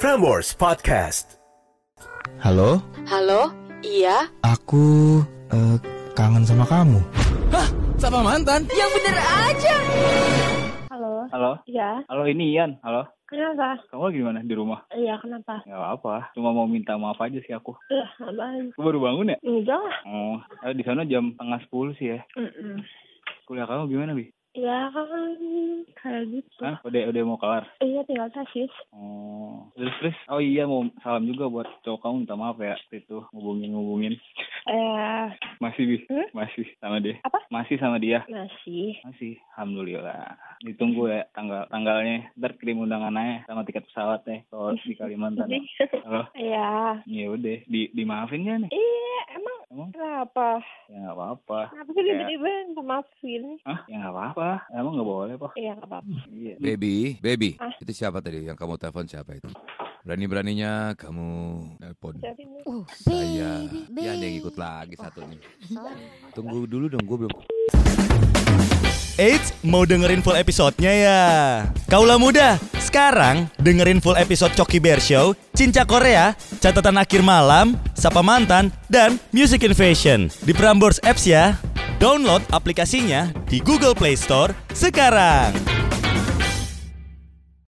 Prambors Podcast. Halo, Halo, iya, aku eh, kangen sama kamu. Sama mantan? yang bener aja. Halo, Halo, ya, halo ini Ian, halo. kenapa? Kamu lagi di mana di rumah? Iya, kenapa? Gak apa-apa, cuma mau minta maaf aja sih aku. Eh, apaan? Aku baru bangun ya? Enggak lah. Oh, eh, di sana jam tengah sepuluh sih ya. Mm-mm. Kuliah kamu gimana bi? Ya, kan kayak gitu. Hah? Udah udah mau kelar. Iya, tinggal tesis. Oh, terus terus. Oh iya mau salam juga buat cowok kamu minta maaf ya waktu itu ngubungin ngubungin. Eh, Masih bi? Hmm? Masih sama dia? Apa? Masih sama dia? masih. Masih, alhamdulillah. Ditunggu ya tanggal tanggalnya. Ntar kirim undangan aja sama tiket pesawatnya kalau di Kalimantan. ya. Halo. Iya. Ya udah, di dimaafin gak nih? Iya, emang Emang? kenapa? Ya nggak apa-apa. Kenapa sih tiba-tiba yang maafin? Hah? Ya nggak apa-apa. Emang nggak boleh, Pak. Iya, nggak apa-apa. Iya. Baby, baby. Ah. Itu siapa tadi yang kamu telepon siapa itu? Berani-beraninya kamu telepon Jadi ini Uh, saya. baby, Ya ada baby. yang Oh, ikut lagi satu nih. Sorry. Tunggu dulu dong, gue belum. Eits, mau dengerin full episode-nya ya? Kaulah muda, sekarang dengerin full episode Coki Bear Show, Cinca Korea, Catatan Akhir Malam, Sapa Mantan, dan Music Invasion di Prambors Apps ya. Download aplikasinya di Google Play Store sekarang.